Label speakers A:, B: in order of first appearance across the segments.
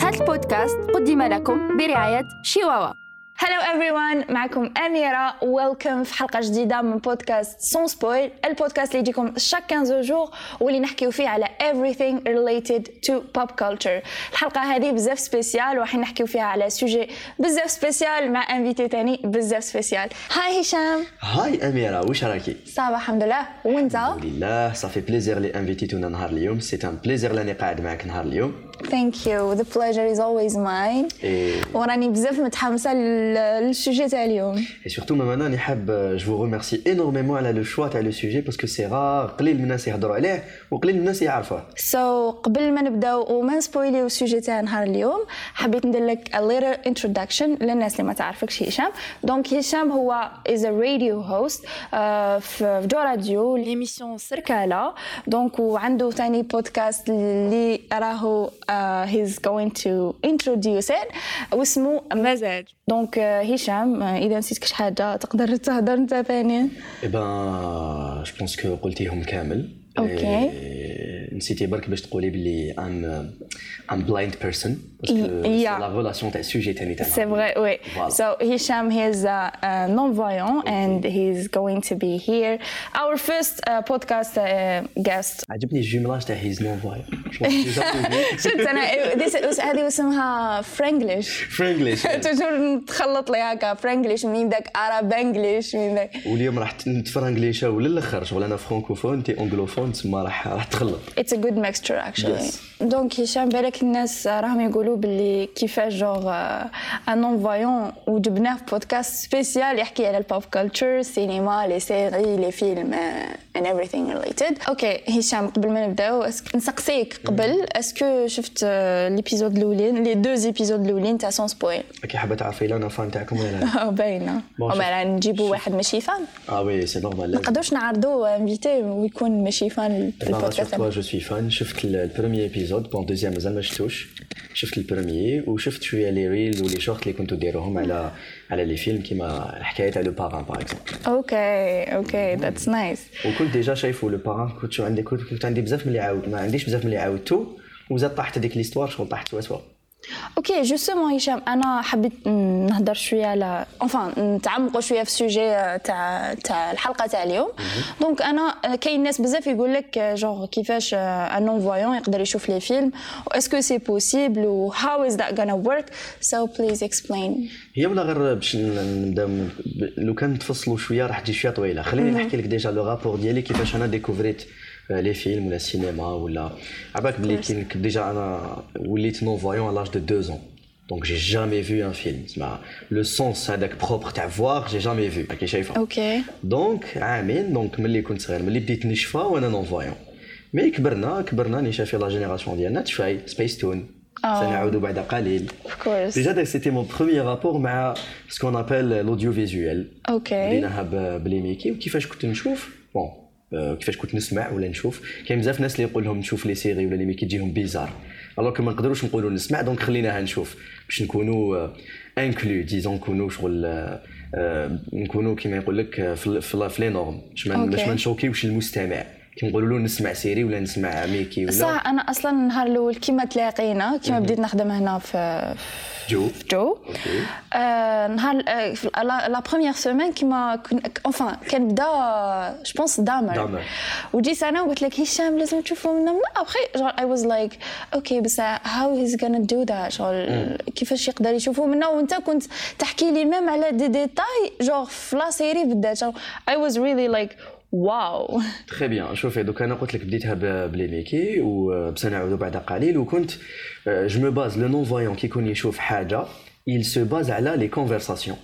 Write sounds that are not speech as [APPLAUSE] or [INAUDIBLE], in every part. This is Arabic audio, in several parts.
A: قناة البودكاست قدم لكم برعاية شيواوا
B: هلو everyone معكم أميرة ويلكم في حلقة جديدة من بودكاست سون سبويل البودكاست اللي يجيكم شاك 15 جور واللي نحكيو فيه على everything related to pop culture الحلقة هذه بزاف سبيسيال وراح نحكيو فيها على سوجي بزاف سبيسيال مع انفيتي تاني بزاف سبيسيال هاي هشام
C: هاي اميره واش راكي
B: صافا الحمد لله وانت
C: الحمد لله صافي بليزير اللي انفيتيتونا نهار اليوم سيت ان بليزير لاني قاعد معك نهار اليوم
B: ثانك يو ذا pleasure is always mine
C: اي
B: وراني بزاف متحمسة لل- للسوجي تاع اليوم
C: et surtout maman انا حاب je vous remercie énormément على le choix تاع le sujet parce que c'est rare قليل من الناس يهضروا عليه وقليل من الناس يعرفوه
B: سو so, قبل ما نبداو وما نسبويليو السوجي تاع نهار اليوم حبيت ندير لك a little introduction للناس اللي ما تعرفكش هشام دونك هشام هو is a radio host آه، في في جو راديو ليميسيون سركالة دونك وعنده تاني بودكاست اللي راهو آه، he's going to introduce it واسمه مزاج دونك آه، هشام آه، اذا نسيت كش حاجة تقدر تهضر انت ثاني
C: et Eh ben je pense que قلتيهم كامل
B: أوكي.
C: Et نسيتي برك باش تقولي بلي I'm euh, I'm blind person parce que
B: Yeah.
C: c'est la relation تاع السوجي تاني تاع
B: C'est vrai, oui.
C: Voilà.
B: So Hisham, he is a, a non-voyant and he's going to be here. Our first uh, podcast uh, guest.
C: عجبني الجمله تاع هيز نون
B: [LAUGHS]
C: فوايا
B: شفت انا uh, this is- هذه اسمها فرانجليش
C: فرانجليش
B: [LAUGHS] تجور نتخلط لي هكا فرانجليش منين ذاك عرب انجليش منين ذاك
C: واليوم راح نتفرنجليشا ولا الاخر شغل انا فرانكوفون تي انجلوفون تسمى راح راح تخلط
B: اتس ا جود ميكستشر اكشلي
C: Yes.
B: دونك هشام بالك الناس راهم يقولوا باللي كيفاش جوغ ان نون فايون وجبناه في بودكاست سبيسيال يحكي على البوب كلتشر سينما لي سيري لي فيلم اند euh, everything ريليتد اوكي هشام قبل ما نبداو أسك- نسقسيك قبل اسكو شفت ليبيزود الاولين لي دوز ايبيزود الاولين تاع سون [LAUGHS] سبويل
C: كي حابه تعرفي لا انا فان تاعكم ولا
B: [LAUGHS]
C: لا
B: Oh, باينه
C: شوف.
B: ومالا نجيبوا واحد ماشي فان
C: اه وي سي نورمال
B: ما نقدروش نعرضوا انفيتي ويكون ماشي فان في البودكاست
C: توا جو سوي فان شفت ال- البروميي ابيزود بون دوزيام مازال ما شفتوش شفت البروميي وشفت شويه لي ريلز ولي شورت اللي كنتو ديروهم على على لي فيلم كيما الحكايه تاع لو باران باغ اكزومبل
B: اوكي اوكي ذاتس نايس
C: وكنت ديجا شايفو لو باران كنت شو عندي كنت كنت عندي بزاف من اللي عاود ما عنديش بزاف من اللي عاودتو وزاد طاحت هذيك ليستوار شغل طاحت سوا سوا
B: اوكي جوستومون هشام انا حبيت ن- نهضر شويه على انفان نتعمقوا شويه في السوجي تاع تاع الحلقه تاع اليوم دونك انا آه، كاين ناس بزاف يقول لك آه، جونغ كيفاش ان نون فويون يقدر يشوف لي فيلم اسكو سي بوسيبل و هاو از ذات غانا ورك سو بليز اكسبلين
C: هي ولا غير باش ن- نبدا من- ب- لو كان تفصلوا شويه راح تجي شويه طويله خليني نحكي لك ديجا لو رابور ديالي كيفاش انا ديكوفريت آه، لي فيلم ولا السينما ولا عبالك بلي كي- كي ديجا انا وليت نون فويون على لاج دو دوز اون دونك جي جامي فو ان فيلم تسمى لو سونس هذاك بروبر تاع فوار جي جامي فو راكي شايفه
B: اوكي
C: دونك عامين دونك ملي كنت صغير ملي بديت نشفى وانا نون فويون مي كبرنا كبرنا ني شافي لا جينيراسيون ديالنا تشفاي سبيس تون سنعود بعد قليل
B: اوف كورس
C: Déjà, d'ailleurs, c'était mon premier rapport مع ce qu'on appelle l'audiovisuel. euh,
B: اوكي
C: بديناها ب- بلي ميكي وكيفاش كنت نشوف بون آه، كيفاش كنت نسمع ولا نشوف كاين بزاف ناس اللي يقول لهم نشوف لي سيري ولا لي ميكي تجيهم بيزار الوغ كو ما نقدروش نقولوا نسمع دونك خليناها نشوف باش نكونوا انكلو ديزون نكونوا شغل آه، آه، نكونوا كيما يقول لك آه، في ال- في ال- في لي نورم باش ما
B: أوكي.
C: باش ما نشوكيوش المستمع كي نقولوا له نسمع سيري ولا نسمع ميكي ولا
B: صح انا اصلا النهار الاول كيما تلاقينا كيما بديت نخدم هنا في
C: جو
B: في جو
C: أوكي.
B: آه، نهار آه، في ال- لا لا بروميير سيمين كيما كن انفان كان بدا جو بونس دامر
C: دامر.
B: وجيت انا وقلت لك هشام لازم تشوفوا منا ابخي جون اي واز لايك اوكي بس هاو هيز غانا دو ذات شغل كيفاش يقدر يشوفوا منا وانت كنت تحكي لي ميم على دي ديتاي جوغ في لا سيري بالذات اي واز ريلي لايك واو
C: تخي بيان شوفي دوك انا قلت لك بديتها ب- بلي ميكي وبسنعود بعد قليل وكنت جو مو باز لو نون فويون كيكون يشوف حاجه il se base على لي كونفرساسيون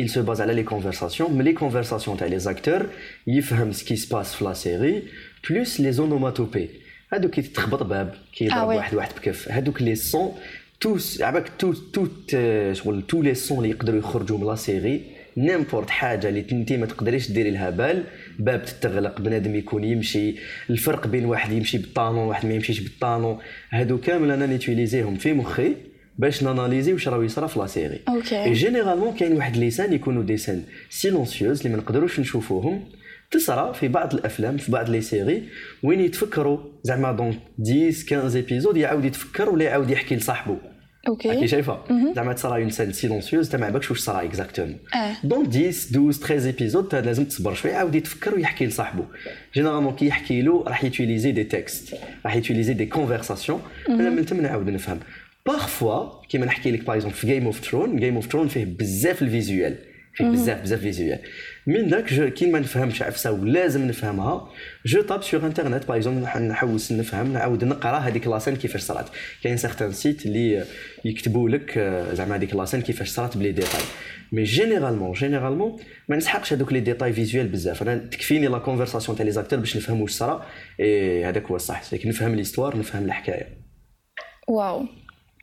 C: il se base على لي كونفرساسيون ملي كونفرساسيون تاع لي زاكتور يفهم سكي سباس في لا سيري بلوس لي زونوماتوبي هادوك كي تخبط باب كي
B: آه
C: يضرب
B: وي.
C: واحد واحد بكف هادوك لي سون توس عباك تو تو ت- شغل تو لي سون اللي يقدروا يخرجوا من لا سيري نيمبورت حاجه اللي انت ما تقدريش ديري لها بال باب تتغلق بنادم يكون يمشي الفرق بين واحد يمشي بالطانون واحد ما يمشيش بالطانون هادو كامل انا نيتيليزيهم في مخي باش ناناليزي واش راه يصرى في لا سيري
B: أوكي.
C: Et جينيرالمون كاين واحد لي سان يكونوا دي سان سيلونسيوز اللي ما نقدروش نشوفوهم تصرى في بعض الافلام في بعض لي سيري وين يتفكروا زعما دونك 10 15 ايبيزود يعاود يتفكر ولا يعاود يحكي لصاحبه
B: اوكي
C: راكي شايفه زعما تصرا اون سال سيلونسيوز انت ما عبالكش واش صرا اكزاكتومون
B: آه.
C: دونك 10 12 13 ايبيزود لازم تصبر شويه عاود يتفكر ويحكي لصاحبه جينيرالمون كي يحكي له راح يوتيليزي دي تكست راح يوتيليزي دي كونفرساسيون انا من تما نعاود نفهم بارفوا كيما نحكي لك باغ اكزومبل في جيم اوف ترون جيم اوف ترون فيه بزاف الفيزيوال فيه بزاف بزاف فيزيوال من داك جو- كي ما نفهمش عفسه ولازم نفهمها جو تاب سور انترنت باغ اكزومبل نح- نحوس نفهم نعاود نقرا هذيك لاسين كيفاش صرات كاين سيغتان سيت اللي يكتبوا لك آه، زعما هذيك لاسين كيفاش صرات بلي ديتاي مي جينيرالمون جينيرالمون ما نسحقش هذوك لي ديتاي فيزيوال بزاف انا تكفيني لا كونفرساسيون تاع لي زاكتور باش نفهم واش صرا إيه، هذاك هو الصح سيك نفهم ليستوار نفهم الحكايه
B: واو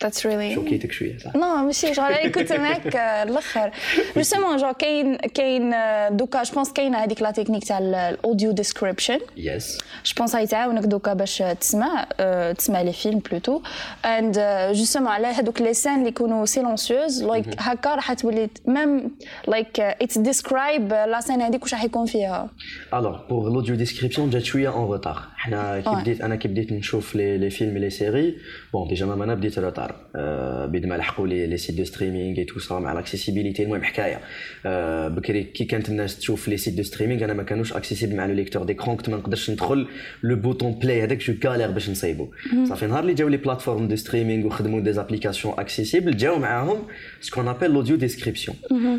B: ذاتس ريلي
C: شوكيتك شويه صح
B: نو ماشي شغل انا كنت معاك آه، الاخر جوستومون جو كاين كاين آه، دوكا جو بونس كاينه هذيك لا تكنيك تاع الاوديو ديسكريبشن
C: يس
B: جو بونس غيتعاونك دوكا باش تسمع آه، تسمع لي فيلم بلوتو اند جوستومون على هذوك لي سان اللي يكونوا سيلونسيوز لايك هكا راح تولي ميم لايك اتس ديسكرايب لا سان هذيك واش راح يكون فيها
C: الوغ بوغ لوديو ديسكريبسيون جات شويه اون روتار حنا كي
B: Ouais.
C: بديت انا كي بديت نشوف لي لي فيلم لي سيري بون ديجا مام انا بديت روتار آه، بيد ما لحقوا لي لي سيت دو ستريمينغ اي تو سا مع لاكسيسيبيليتي المهم حكايه آه، بكري كي كانت الناس تشوف لي سيت دو ستريمينغ انا ما كانوش اكسيسيبل مع لو ليكتور ديكرون كنت ما نقدرش ندخل لو بوتون بلاي هذاك جو كالير باش نصيبو صافي نهار اللي جاو لي بلاتفورم دو ستريمينغ وخدموا دي زابليكاسيون اكسيسيبل جاو معاهم سكون ابل لوديو ديسكريبسيون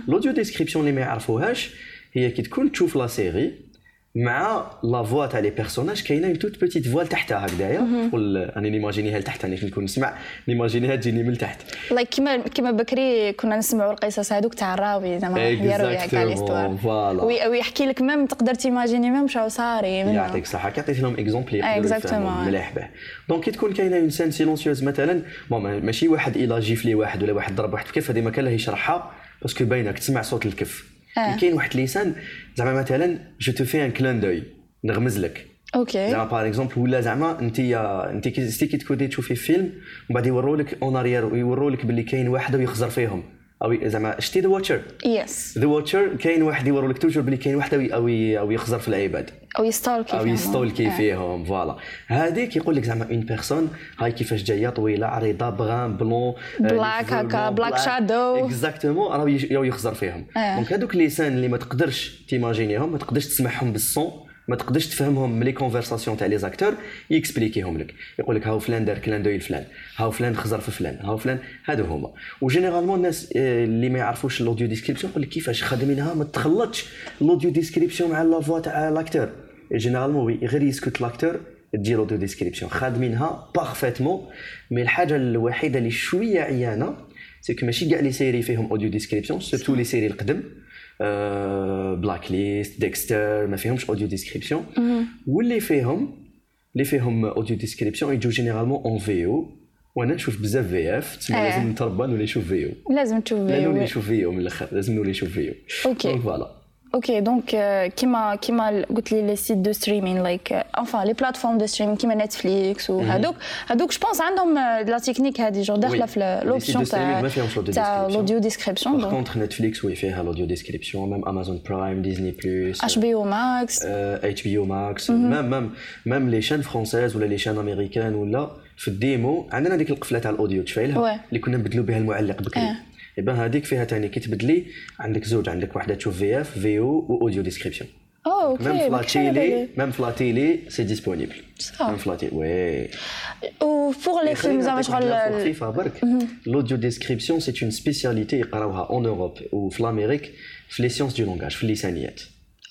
C: لوديو ديسكريبسيون اللي ما يعرفوهاش هي كي تكون تشوف لا سيري مع لا فوا تاع لي بيرسوناج كاينه اون توت بوتيت فوا لتحتها هكذايا شغل راني نيماجينيها لتحت انا كي نكون نسمع نيماجينيها تجيني من تحت
B: لايك كيما كيما بكري كنا نسمعوا القصص هذوك تاع الراوي زعما راح يروي هكا ليستوار
C: فوالا
B: وي- ويحكي لك ميم تقدر تيماجيني ميم شاو صاري منه.
C: يعطيك الصحه كيعطيك لهم اكزومبل يقدروا
B: أيوة، Exactement.
C: يفهموا مليح به دونك كي تكون كاينه اون سان سيلونسيوز مثلا بون ما- ماشي واحد الا جيف لي واحد ولا واحد ضرب واحد في الكف هذه ما كان له يشرحها باسكو باينك تسمع صوت الكف
B: آه.
C: كاين واحد لسان زعما مثلا جو تو في ان كلان دوي نغمز لك
B: اوكي
C: زعما باغ اكزومبل ولا زعما انت انت كي ستي كي تكوني تشوفي فيلم ومن بعد يورولك اون اريير يورولك باللي كاين واحد ويخزر فيهم او زعما شتي ذا واتشر
B: يس
C: ذا واتشر كاين واحد يورولك توجور باللي كاين واحد أو- او او يخزر في العباد
B: او يستالكي
C: او
B: فيهم.
C: يستولكي
B: آه.
C: فيهم فوالا هذيك يقول لك زعما اون بيرسون هاي كيفاش جايه طويله عريضه بغان بلون
B: Black
C: آه،
B: هكا، black shadow.
C: اكزاكتومون راهو يج- راهو يخزر فيهم
B: آه.
C: دونك هذوك ليسان اللي ما تقدرش تيماجينيهم ما تقدرش تسمعهم بالصون ما تقدرش تفهمهم من لي كونفرساسيون تاع لي زاكتور يكسبليكيهم لك يقول لك هاو فلان دار كلان دوي فلان هاو فلان خزر في فلان هاو فلان هادو هما وجينيرالمون الناس آه، اللي ما يعرفوش الاوديو ديسكريبسيون يقول لك كيفاش خادمينها ما تخلطش الاوديو ديسكريبسيون مع لا فوا تاع لاكتور جينيرالمون وي غير يسكت لاكتور دير اوديو ديسكريبسيون خادمينها بارفيتمون مي الحاجه الوحيده اللي شويه عيانه سي كو ماشي كاع لي سيري فيهم اوديو ديسكريبسيون سيرتو لي سيري القدم بلاك ليست ديكستر ما فيهمش اوديو ديسكريبسيون واللي فيهم اللي فيهم اوديو ديسكريبسيون يجوا جينيرالمون اون فيو وانا نشوف بزاف في اف تسمى
B: آه.
C: لازم نتربى ولا نشوف فيو
B: لازم تشوف
C: لا
B: فيديو.
C: نولي نشوف فيو من الاخر لازم نولي نشوف فيو
B: أوكي.
C: دونك فوالا
B: اوكي دونك آه،
C: euh,
B: كيما كيما ال- قلت لي لي سيت دو ستريمين لايك انفان لي بلاتفورم دو ستريمين كيما نتفليكس
C: Mhm.
B: وهذوك هذوك جو بونس عندهم
C: euh,
B: آه، لا تكنيك هذه جو داخله
C: Oui.
B: في ال-
C: Les sites de
B: لوبسيون
C: streaming
B: تاع
C: ما فيهمش l'audio
B: تاع
C: description.
B: الاوديو ديسكريبشن
C: باغ
B: دونك
C: كونتخ نتفليكس وي فيها الاوديو ديسكريبسيون ميم امازون برايم ديزني بلس
B: اش بي او ماكس
C: euh, اتش بي يو ماكس مام مام مام لي شان فرونسيز ولا لي شان امريكان ولا في الديمو عندنا ديك القفله تاع الاوديو
B: واه.
C: تشفايلها اللي كنا نبدلو بها المعلق بكري
B: اه.
C: ايبا هذيك فيها تاني كي تبدلي عندك زوج عندك واحده تشوف في اف في او واوديو ديسكريبسيون
B: اوه
C: ميم في
B: اوكي
C: لا
B: ماكش على
C: تيلي
B: بالي.
C: ميم في لا تيلي سي ديسپونيبل
B: صح.
C: ميم في لا تيلي وي
B: و فوغ لي فيلم زعما شغل
C: خفيفه برك l'auddio description c'est une spécialité يقراوها en Europe ou في l'Amérique في les sciences du langage في اللسانيات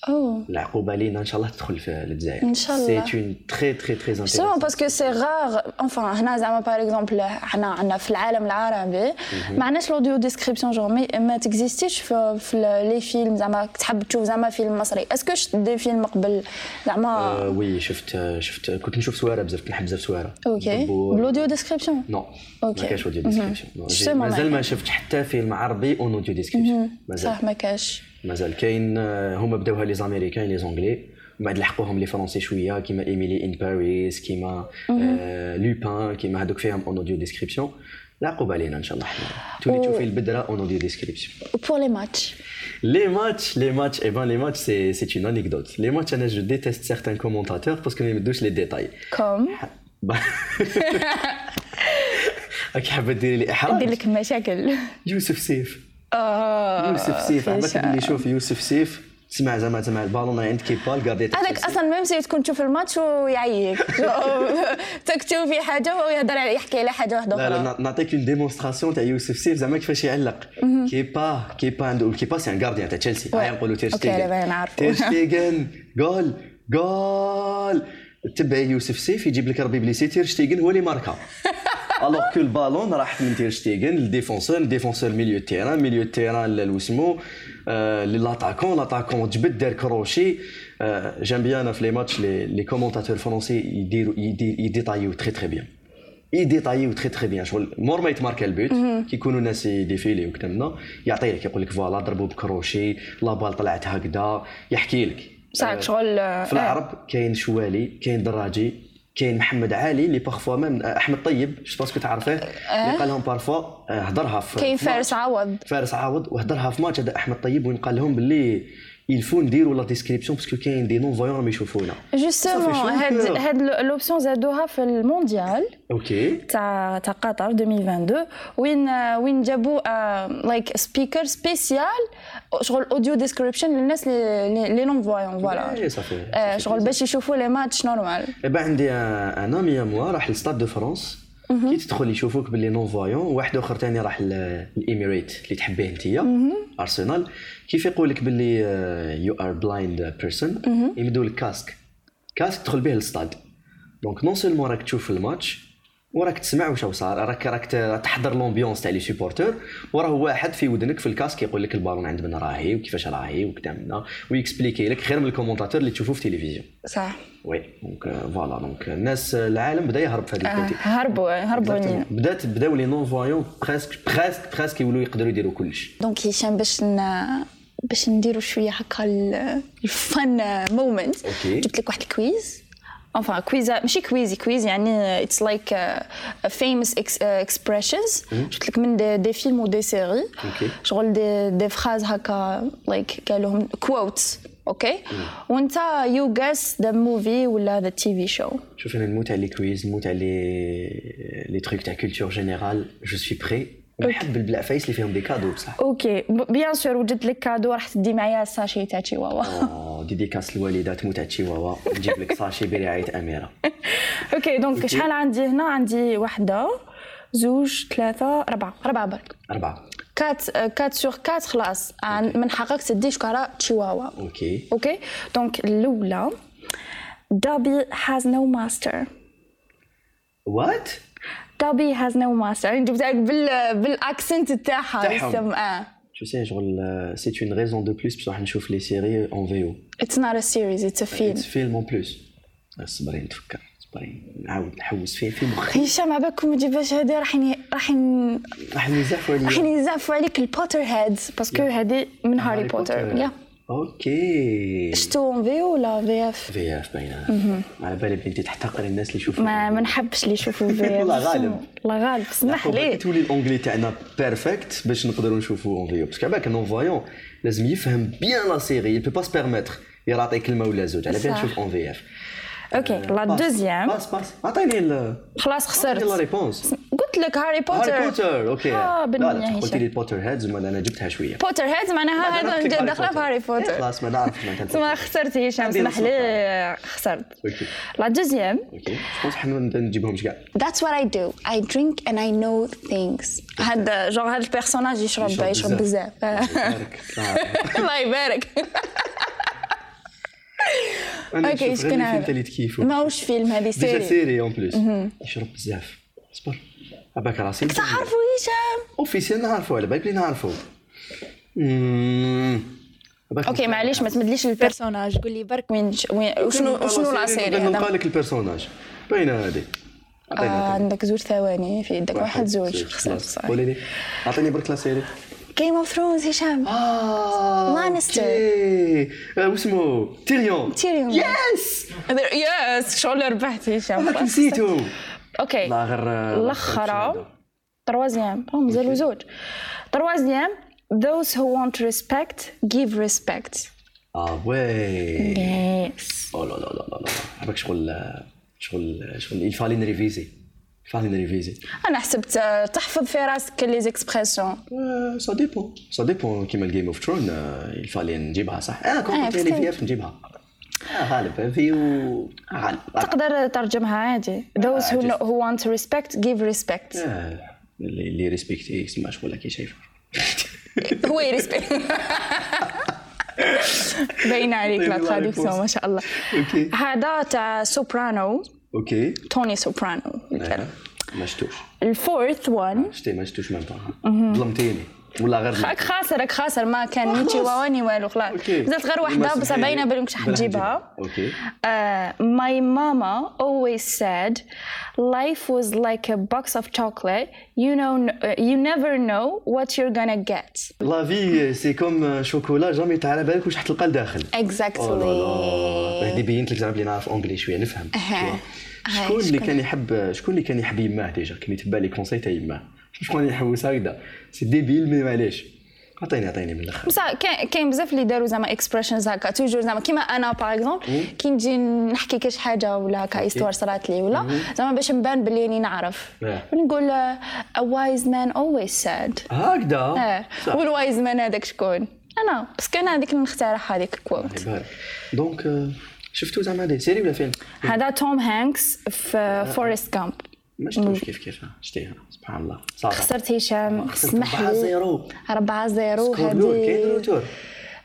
C: Oh.
B: اوه
C: العقوبه لينا ان شاء الله تدخل في الجزائر
B: إن شاء الله.
C: سي اون تري تري تري
B: سو باسكو سي غار انفان هنا زعما باغ اكزومبل حنا عندنا في العالم العربي ما عندناش لوديو ديسكريبسيون جو مي- ما تكزيستيش في, في ال- لي فيلم زعما تحب تشوف زعما فيلم مصري اسكو شفت دي فيلم قبل زعما
C: وي شفت شفت كنت نشوف سواره بزاف كنت نحب بزاف سواره
B: اوكي
C: euh,
B: بلوديو ديسكريبسيون
C: نو
B: أوكي.
C: ما كاش اوديو
B: مهم.
C: ديسكريبسيون
B: Justement,
C: مازال
B: ما-
C: ما شفتش حتى فيلم عربي اون اوديو ديسكريبسيون مازال
B: صح ما كاش
C: مازال كاين آه، هما بداوها لي زاميريكان لي زونغلي ومن بعد لحقوهم لي فرونسي شويه كيما ايميلي ان باريس كيما آه، لوبان كيما هذوك فيهم اون اوديو ديسكريبسيون العقوبه علينا ان شاء الله حنا تولي
B: أو-
C: تشوفي البدره اون اوديو ديسكريبسيون
B: بور لي ماتش
C: Les matchs, les matchs, eh ben les matchs, c'est, c'est une anecdote. Les matchs, Anna, je déteste certains [LAUGHS] commentateurs parce qu'ils me douchent les détails.
B: كوم
C: Bah, راك حابه ديري لي
B: ندير
C: احراج
B: لك مشاكل
C: يوسف سيف
B: آه،
C: يوسف سيف عم
B: فيش-
C: تبلي شوف يوسف سيف تسمع زعما تسمع البالون عند كيبال كارديت
B: هذاك اصلا ميم سي تكون تشوف الماتش [LAUGHS] ويعيك تك تشوفي حاجه وهو يهضر على يحكي على حاجه واحده
C: لا لا
B: اخرى
C: نا- نعطيك اون ديمونستراسيون تاع يوسف سيف زعما كيفاش يعلق كيبا كيبا عنده كيبا سي ان غارديان تاع تشيلسي هاي نقولوا تير
B: أوكي،
C: شتيغن.
B: دابا نعرفو.
C: تير شتيغن جول جول تبع يوسف سيف يجيب لك ربي بليسي تير شتيغن هو اللي ماركا الوغ كو البالون راح من تير شتيغن للديفونسور ديفونسور ميليو تيران ميليو تيران ل- وسمو آه، لاتاكون لاتاكون جبد دار كروشي آه، جيم بيان أنا في لي ماتش لي لي كومونتاتور فرونسي يديروا يدير يديتايو تري تري بيان يديتايو تري تري بيان شغل مور ما يتماركا البيوت كيكونوا الناس يديفيلي وكتمنا يعطي لك يقول لك فوالا ضربوا بكروشي لا بال طلعت هكذا يحكي لك
B: بصح
C: آه،
B: شغل
C: في العرب كاين شوالي كاين دراجي كاين محمد علي اللي بارفوا مام احمد طيب جو باسكو تعرفيه اللي قال لهم بارفوا آه، هضرها في
B: كاين
C: في ماتش.
B: فارس عوض
C: فارس عاوض وهضرها في ماتش هذا احمد طيب وين قال لهم باللي يلفو نديروا لا ديسكريبسيون باسكو كاين دي نون فويون راهم يشوفونا
B: إيه. جوستومون
C: صافي، شو
B: هاد
C: كده؟
B: هاد لوبسيون زادوها في المونديال
C: اوكي
B: تاع تاع قطر 2022 وين آه، وين جابوا لايك سبيكر سبيسيال شغل اوديو ديسكريبشن للناس لي نون فوايون
C: إيه،
B: فوالا
C: صافي
B: آه،
C: صافي.
B: شغل باش يشوفوا لي ماتش نورمال
C: Eh ben, عندي ان امي موا راح لستاد دو فرانس كي تدخل يشوفوك باللي نون فايون واحد اخر ثاني راح الاميريت اللي تحبيه انتيا ارسنال كيف يقول لك آه، باللي يو ار بلايند بيرسون يمدوا لك كاسك كاسك تدخل به للستاد دونك نون سولمون راك تشوف الماتش وراك تسمع واش صار راك راك ت- تحضر لومبيونس تاع لي سوبورتور وراه واحد في ودنك في الكاسك يقول لك البالون عند من راهي وكيفاش راهي وكتعملنا ويكسبليكي لك غير من الكومونتاتور اللي تشوفوه في التلفزيون
B: صح
C: وي دونك فوالا دونك الناس العالم بدا euh, يهرب في هذه
B: آه،
C: الكوتي
B: هربوا هربوا لينا
C: Exactement. بدات بداو لي نون فوايون بريسك بريسك بريسك يولوا يقدروا يديروا كلش
B: دونك هشام باش ن... باش نديروا شويه هكا ال- الفن مومنت
C: أوكي.
B: جبت لك واحد الكويز انفا كويز ماشي كويزي كويز يعني اتس لايك فيموس اكسبريشنز جبت لك من دي, دي فيلم ودي سيري
C: أوكي.
B: شغل دي, دي فراز هكا لايك قالوهم كوتس اوكي وانت يو جاس ذا موفي ولا ذا تي في شو
C: شوف انا نموت على لي كويز نموت على لي لي تروك تاع كولتور جينيرال جو سوي بري ونحب البلاع فايس اللي فيهم دي كادو بصح
B: اوكي بيان سور وجدت لك كادو راح تدي معايا ساشي تاع تشيواوا
C: آه، ديديكاس الوالده تموت على تشيواوا نجيب لك ساشي برعايه اميره
B: اوكي دونك شحال عندي هنا عندي وحده زوج ثلاثة أربعة أربعة برك
C: اربعه
B: كات آه، كات سور كات خلاص عن- من حقك تدي شكارة تشيواوا
C: اوكي
B: اوكي دونك الأولى دابي هاز نو ماستر
C: وات
B: دابي هاز نو ماستر يعني جبتها لك بال بالاكسنت تاعها
C: تاعهم.
B: السم اه
C: جو سي شغل euh، آه، سي اون ريزون دو بلوس باش راح نشوف لي سيري اون فيو
B: اتس نوت ا سيريز اتس ا فيلم
C: It's فيلم اون بلوس صبري نتفكر صبري نعاود نحوس فيه في مخي
B: هشام على بالكم ما تجيبهاش هادي راح ين- راح ين-
C: راح نزعفوا عليا
B: راح يزعفوا عليك البوتر هيدز باسكو هادي من هاري بوتر يا
C: اوكي
B: شتو اون فيو ولا في اف
C: في اف باينه على بالي بنتي تحتقر الناس اللي يشوفوا
B: ما ما نحبش اللي
C: [LAUGHS]
B: يشوفوا في
C: والله غالب.
B: الله غالب سمح لي
C: تولي الانجلي تاعنا بيرفكت باش نقدروا نشوفوا اون فيو باسكو عباك نون فايون لازم يفهم بيان لا سيري يل بو با سبيرميتر يعطي كلمه ولا زوج على بالي
B: صح.
C: نشوف Euh, اون في اف
B: اوكي
C: آه،
B: لا دوزيام
C: باس باس عطيني ال-
B: خلاص
C: عطيني لا
B: خسرت
C: ريبونس
B: قلت لك هاري بوتر
C: هاري بوتر اوكي
B: آه،
C: لا
B: بالمية
C: لا قلت
B: هشام.
C: لي بوتر هيدز ولا انا جبتها شويه
B: بوتر هيد معناها هذا
C: نعطيك
B: جا-
C: هاري
B: داخله في
C: بوتر.
B: هاري
C: إيه،
B: بوتر
C: خلاص ما نعرفش معناتها
B: تسمى
C: البوتر.
B: خسرت هشام
C: عندي
B: سمح لي خسرت
C: اوكي
B: لا دوزيام
C: اوكي جو حنا نجيبهمش كاع
B: That's what I do. I drink and I know things. هذا جونغ هذا البيرسوناج يشرب
C: يشرب
B: يشرب
C: بزاف.
B: بزاف [LAUGHS]
C: [LAUGHS] بارك. آه.
B: الله
C: [LAUGHS]
B: يبارك
C: انا
B: أوكي،
C: نشوف
B: شكون
C: غير الفيلم
B: هذا؟
C: تاع اللي تكيفو
B: ماهوش فيلم هذه
C: ديجا
B: سيري
C: سيري اون بلوس يشرب بزاف اصبر عباك راسي
B: تعرفوا هشام
C: اوفيسيال نعرفو على بالك بلي نعرفو
B: اوكي معليش ما تمدليش البيرسوناج قول لي برك وين وين وشنو وشنو لا سيري هذا
C: نلقى لك البيرسوناج باينه هذه طيب،
B: آه، عندك زوج ثواني في يدك واحد زوج خسرت
C: خلاص
B: صح
C: نعم. قولي لي اعطيني برك لا سيري
B: جيم اوف ثرونز هشام
C: اه
B: Lannister.
C: اوكي آه، واسمو تيريون
B: تيريون.
C: يس
B: يس شغل ربحت
C: هذاك
B: هشام [LAUGHS]
C: نسيتو
B: اوكي
C: لا غير
B: الاخرى تروازيام هم مازالوا زوج تروازيام those who want respect give respect
C: اه وي
B: yes
C: Oh euh, او لا لا لا لا لا عباك شغل شغل شغل الفالي نريفيزي فاضي نريفيزي
B: انا حسبت آه، تحفظ في راسك لي زيكسبرسيون
C: سا ديبون سا ديبون كيما الجيم اوف ترون يفالي نجيبها صح انا كنت
B: آه،
C: نتيلي
B: بسيط.
C: فيها باش نجيبها آه، غالب في و غالب
B: تقدر ترجمها عادي those who,
C: نعم. عادي.
B: know, who want respect give
C: [LAUGHS]
B: respect
C: آه، اللي اللي ريسبكت يسمع شغل كي [LAUGHS] شايف
B: هو يريسبكت باينه عليك
C: طيب،
B: لا
C: الله
B: تراديكسيون
C: يبارك
B: ما شاء الله
C: أوكي.
B: هذا تاع سوبرانو
C: اوكي
B: توني سوبرانو
C: آه، ما شفتوش
B: الفورث وان
C: شتي ما شفتوش مام با ظلمتيني ولا غير
B: راك خاسر راك خاسر ما كان
C: خلاص.
B: نيتي واواني والو خلاص
C: أوكي.
B: زدت غير
C: ما
B: وحده بصح
C: سمحيلي.
B: باينه بلي مش راح
C: بلا
B: تجيبها
C: اوكي
B: Uh, my mama always said life was like a box of chocolate. You know, uh, you never know what you're gonna get.
C: لا في سي كوم شوكولا جامي تا على بالك واش حتلقى لداخل أوه لا لا. هذه
B: Exactly.
C: بينت لك زعما بلي نعرف اونجلي شويه نفهم
B: أها.
C: شكون
B: أها،
C: شكون اللي
B: شكون؟
C: كان يحب شكون اللي كان يحب يماه ديجا كان يتبع لي كونساي تاع يماه شكون اللي يحوس هكذا سي ديبيل مي معليش عطيني عطيني من الاخر
B: بصح كاين كاين بزاف اللي داروا زعما اكسبريشنز هكا توجور زعما كيما انا باغ اكزومبل كي نجي نحكي كاش حاجه ولا هكا استوار صرات لي ولا زعما باش نبان بلي راني نعرف
C: آه.
B: نقول uh, a wise man always said
C: هكذا
B: اه
C: صح.
B: والوايز مان هذاك شكون انا بس كان هذيك اللي نختارها هذيك كوت
C: الله يبارك. دونك آه، شفتو زعما هذه سيري ولا فيلم
B: هذا توم هانكس
C: اه.
B: في فورست كامب
C: ما شفتوش كيف كيف آه، شتيها سبحان الله صافي
B: خسرت هشام اسمح لي
C: 4-0
B: 4 0
C: سكور نور كاين
B: هذه
C: روتور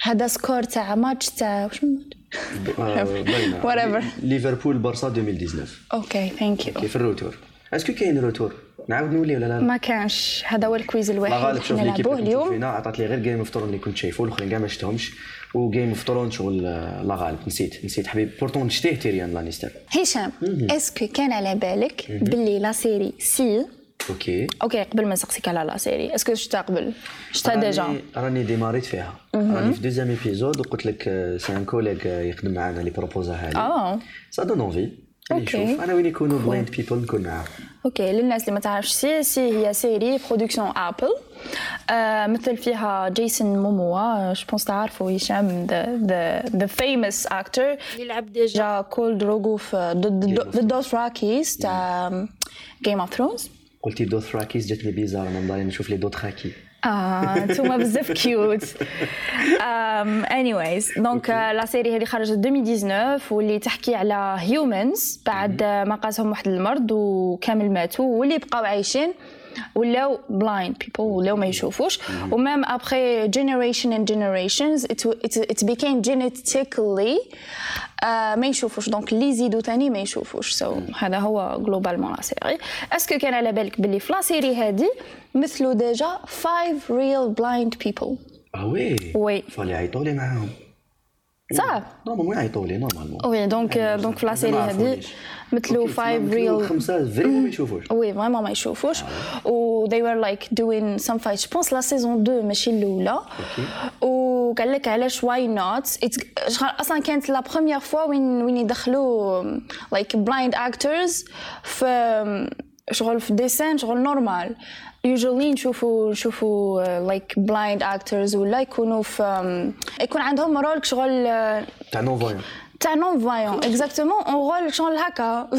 B: هذا سكور تاع ماتش تاع واش من ماتش؟ [LAUGHS] Whatever.
C: آه، ليفربول برشا 2019
B: اوكي ثانك يو
C: كيف الروتور اسكو كاين روتور نعاود نولي ولا لا
B: ما كانش هذا هو الكويز
C: لا
B: الوحيد اللي
C: غالب شوف
B: حنا
C: ليكيب
B: نلعبوه
C: اللي كنت
B: اليوم
C: فينا عطات لي غير جيم اوف ترون اللي كنت شايفه الاخرين كاع ما شفتهمش وجيم اوف ترون شغل آه، لا غالب نسيت نسيت حبيبي بورتون شتيه تيريان لانيستر
B: هشام اسكو كان على بالك باللي لا سيري سي
C: اوكي
B: اوكي قبل ما نسقسيك على لا سيري اسكو شتا قبل شتا ديجا
C: راني- راني ديماريت فيها
B: Mhm.
C: راني في دوزيام ايبيزود وقلت لك آه، سي ان كوليك آه، يخدم معنا اللي بروبوزاها لي
B: اه
C: سا دون اونفي
B: أوكي.
C: نشوف انا وين يكونوا بلايند بيبل نكون معاهم
B: اوكي للناس اللي ما تعرفش سي سي هي سيري برودكسيون ابل آه مثل فيها جيسون موموا جو بونس تعرفوا هشام ذا ذا فيموس اكتر
A: اللي لعب ديجا
B: جا كول دروغو في ضد ضد دوثراكيز تاع جيم اوف ثرونز
C: قلتي دوث راكيز جاتني بيزار من ضايع نشوف لي دوت راكي
B: اه انتوما بزاف كيوت اني وايز دونك لا سيري آه، هذه خرجت 2019 واللي تحكي على هيومنز بعد آه، ما قاسهم واحد المرض وكامل ماتوا واللي بقاو عايشين ولاو بلايند بيبل ولاو ما يشوفوش ومام ابخي جينيريشن اند جينيريشنز ات بيكام جينيتيكلي ما يشوفوش دونك اللي يزيدوا تاني ما يشوفوش سو هذا هو جلوبالمون لا سيري اسكو كان على بالك باللي في لا سيري هذه مثلوا ديجا 5 ريل بلايند بيبل
C: اه وي
B: وي.
C: فالي يعيطوا لي معاهم
B: صح
C: نورمالمون يعيطوا لي نورمالمون
B: وي دونك دونك في لا سيري هذه مثلوا 5 ريل
C: خمسه فريمون
B: Mm.
C: ما يشوفوش
B: وي فريمون ما يشوفوش و they were like doing some fight je pense la saison 2 ماشي الاولى وقال لك علاش why not It's- شغال اصلا كانت لا بروميير فوا وين وين يدخلوا um, like blind actors في شغل في ديسان شغل نورمال usually نشوفوا نشوفوا uh, like blind actors ولا يكونوا في يكون عندهم رول شغل uh,
C: تاع نون فويون
B: تاع نون فايون اكزاكتومون اون رول شغل [LAUGHS] هكا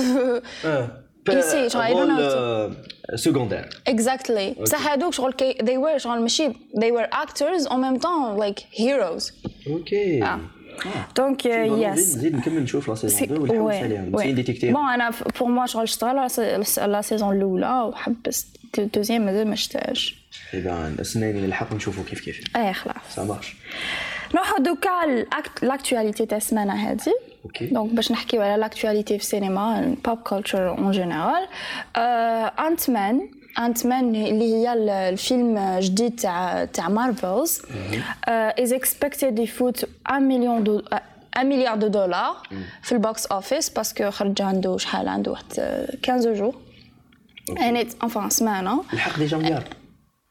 B: Ici,
C: Euh,
B: genre, I don't know.
C: سكوندير
B: Exactly. بصح هادوك شغل كي they were شغل ماشي they were actors en même temps like heroes.
C: اوكي
B: Ah.
C: Ah.
B: دونك يس.
C: نزيد نكمل نشوف لا سيزون 2 ونحوس عليهم نسيت
B: بون
C: ديتيكتير
B: انا بور موا شغل شفت غير لا- لا سيزون الاولى وحبست الدوزيام مازال ما شفتهاش.
C: اذا السنين اللي الحق نشوفوا كيف كيف
B: ايه خلاص.
C: سا مارش
B: نروحو دوكا على الأكت- لاكتواليتي تاع السمانه هادي
C: أوكي.
B: دونك باش نحكيو على لاكتواليتي في السينما بوب كولتشر اون جينيرال انت مان انت مان Euh, اللي هي ال- الفيلم جديد تاع تاع Euh, مارفلز از اكسبكتد يفوت 1 مليون دو 1 مليار دو دولار في البوكس اوفيس باسكو خرج عنده شحال عنده واحد euh, آه، 15 جور يعني انفان سمانه
C: الحق ديجا مليار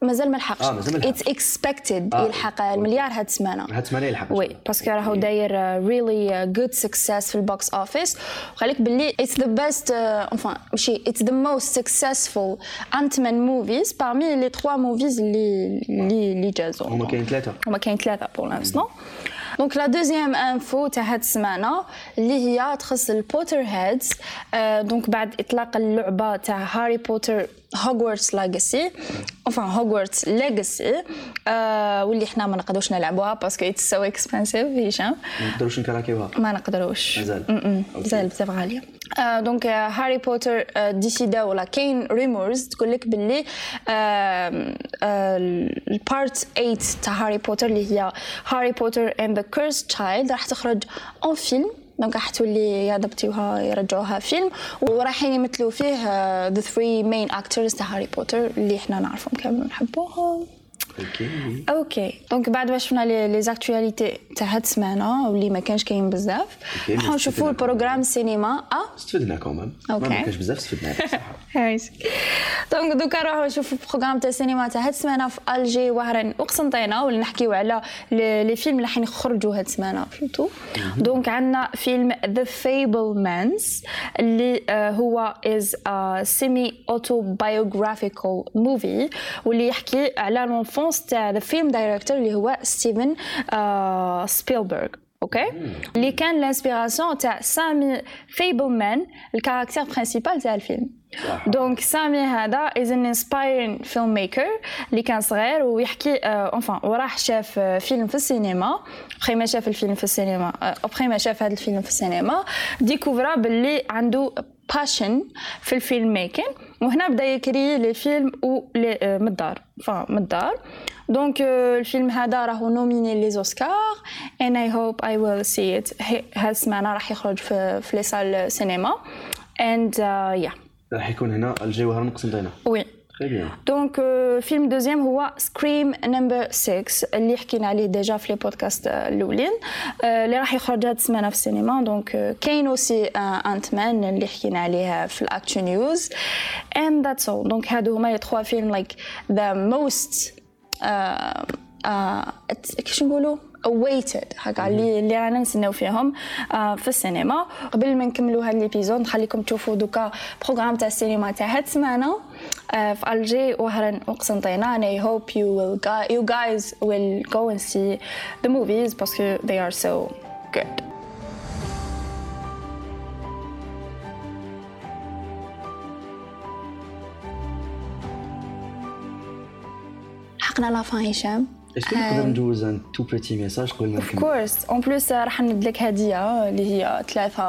B: مازال ما لحقش
C: آه، مازال ما لحقش.
B: اتس اكسبكتد
C: آه.
B: يلحق المليار هاد السمانه
C: هاد السمانة يلحق إن شاء
B: وي
C: الله. إيه.
B: باسكو راهو داير آه، ريلي جود سكسيس في البوكس اوفيس وخليك باللي اتس ذا بيست انفان آه، ماشي اتس ذا موست سكسيسفول انتمان موفيز بارمي لي تخوا موفيز اللي اللي اللي جازو
C: آه. هما كاين ثلاثه
B: هما كاين ثلاثه بور لانستون دونك لا دوزيام انفو تاع هاد السمانه اللي هي تخص البوتر هيدز آه، دونك بعد اطلاق اللعبه تاع هاري بوتر هوغورتس لاجاسي انفان هوغورتس ليجاسي واللي حنا ما نقدروش نلعبوها باسكو اتس سو اكسبنسيف هشام
C: ما نقدروش نكراكيوها
B: ما نقدروش
C: مازال.
B: م-م.
C: أوكي.
B: مازال بزاف غاليه آه، دونك آه، هاري بوتر آه، ديسيدا ولا كاين ريمورز تقول لك باللي آم، آه، البارت 8 تاع هاري بوتر اللي هي هاري بوتر اند ذا كيرس تشايلد راح تخرج اون فيلم دونك راح تولي يادبتيوها يرجعوها فيلم وراحين يمثلوا فيه euh, ذا ثري مين اكترز تاع هاري بوتر اللي حنا نعرفهم كامل نحبوهم
C: اوكي
B: اوكي دونك Ah, بعد ما شفنا لي لي زاكتواليتي تاع هاد السمانه واللي ما كانش كاين بزاف
C: أوكي،
B: راح
C: نشوف
B: نشوفوا
C: كده.
B: البروغرام السينما اه
C: استفدنا كومان
B: أوكي.
C: ما كانش بزاف استفدنا بصراحه
B: دونك دوكا نروحوا نشوفوا البروغرام تاع السينما تاع هاد السمانه في الجي وهران وقسنطينه واللي نحكيو على لي لي فيلم اللي راح يخرجوا هاد السمانه فهمتوا دونك عندنا فيلم ذا فيبل مانز اللي آه، هو از سيمي اوتوبايوغرافيكال موفي واللي يحكي على لونفونس تاع ذا فيلم دايركتور اللي هو ستيفن آه، سبيلبرغ اوكي اللي كان لانسبيراسيون تاع سامي فيبلمان الكاركتير برينسيبال تاع الفيلم
C: صح.
B: دونك سامي هذا از ان انسبايرين فيلم ميكر اللي كان صغير ويحكي اونفان وراح شاف آه، فيلم في السينما بخي ما شاف الفيلم في السينما بخي ما شاف هذا الفيلم في السينما ديكوفرا باللي عنده باشن في الفيلم ميكين وهنا بدا يكري لي فيلم و لي- آه، من الدار فا من الدار دونك آه، الفيلم هذا راهو نوميني لي اوسكار and I hope I will see it هي- هاد السمانه راح يخرج في في لي سال السينما euh, and uh, yeah
C: راح يكون هنا الجوهر مقسمتينه
B: وي
C: تري بيان
B: دونك آه، فيلم دوزيام هو سكريم نمبر 6 اللي حكينا عليه ديجا في لي بودكاست آه، الاولين آه، اللي راح يخرج هاد السمانه في السينما دونك آه، كاين اوسي انت مان اللي حكينا عليه في الاكتو نيوز اند ذاتس اول دونك هادو هما لي تخوا فيلم لايك ذا موست آه، كيش نقولوا awaited هكا اللي اللي رانا نستناو فيهم آه، في السينما قبل ما نكملوا هاد ليبيزود نخليكم تشوفوا دوكا بروغرام تاع السينما تاع هاد السمانه آه، في الجي وهرن وقسنطينه and I hope you will gu- you guys will go and see the movies باسكو they are so good حقنا لافان هشام
C: اسكو نقدر ندوز ان تو بيتي ميساج قبل ما
B: اوف
C: نكمل
B: كورس اون بليس راح ندلك هديه اللي هي ثلاثه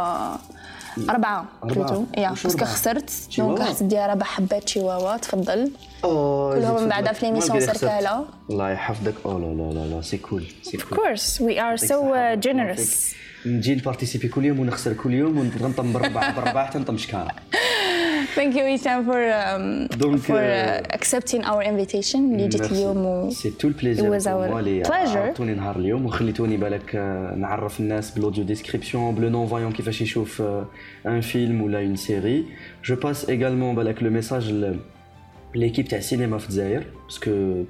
B: أربعة
C: أربعة.
B: بلوتو يا
C: وش
B: باسكو
C: أربعة؟
B: خسرت
C: شيواوا.
B: دونك راح تدي ربع حبات شيواوا تفضل
C: آه،
B: كلهم
C: زيد
B: من
C: فضلك.
B: بعدها في
C: ما
B: ليميسيون
C: ندير خسرت.
B: سركالة.
C: الله يحفظك او لا لا لا لا سي كول سي
B: اوف كورس وي ار سو جينيرس
C: نجي نبارتيسيبي كل يوم ونخسر كل يوم ونطم بربع بربع حتى نطم شكاره
B: ثانك يو هشام فور
C: دونك،
B: فور
C: آه،
B: uh, اكسبتين اور انفيتيشن اللي جيت اليوم و
C: سي تو البليزير
B: It was our pleasure.
C: عرفتوني نهار اليوم وخليتوني بالك آه، نعرف الناس بالاوديو ديسكريبسيون بلو نون فايون كيفاش يشوف ان فيلم ولا اون سيري جو باس ايغالمون بالك لو ميساج ل- ليكيب تاع السينما في الجزائر باسكو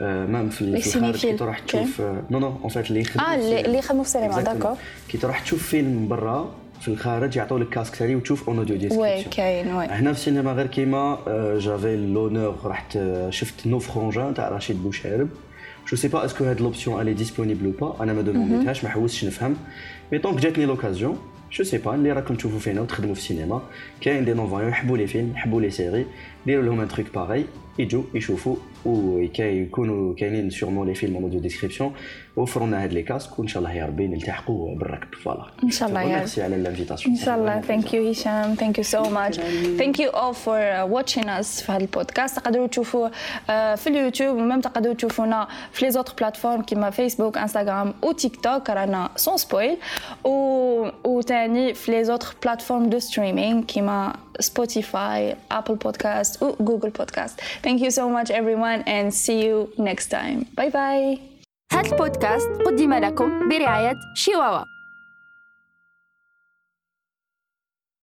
C: مام في
B: لي
C: ال- في الخارج كي
B: سينيفيل.
C: تروح
B: Okay.
C: تشوف نو نو اون فات اللي يخدموا
B: اه
C: في
B: اللي
C: السينما.
B: اللي يخدموا في السينما
C: Exactement.
B: داكور
C: كي تروح تشوف فيلم برا في الخارج يعطوا لك كاسك تاعي وتشوف اون اوديو
B: وي
C: ديسكريبسيون
B: كاين وي
C: هنا في السينما غير كيما آه، جافي لونور رحت آه، شفت نو فرونجان تاع رشيد بوشارب جو سي با اسكو هاد لوبسيون الي ديسپونيبل او با انا
B: Mhm.
C: ما دومونديتهاش ما حوستش نفهم مي طونك جاتني لوكازيون جو سي با اللي راكم تشوفوا فينا وتخدموا في السينما كاين دي نونفايون يحبوا لي فيلم يحبوا لي سيري ديروا لهم ان تروك باغي يجوا يشوفوا ويكونوا كاينين سيغمون لي فيلم اون اوديو ديسكريبسيون وفروا لنا هاد لي كاسك وان شاء الله يا ربي نلتحقوا بالركب فوالا
B: إن شاء الله يا رب.
C: ميرسي على الانفيتاسيون
B: Inshallah, thank you Hisham, thank you so much. Thank you all for uh, watching us في هذا البودكاست تقدروا تشوفوا uh, في اليوتيوب ومام تقدروا تشوفونا في لي زوتر بلاتفورم كيما فيسبوك انستغرام و تيك توك رانا سون سبويل و وتاني في لي زوتر بلاتفورم دو ستريمينغ كيما سبوتيفاي ابل بودكاست و جوجل بودكاست. Thank you so much everyone and see you next time. Bye bye.
A: هذا البودكاست قدم لكم برعاية شيواوا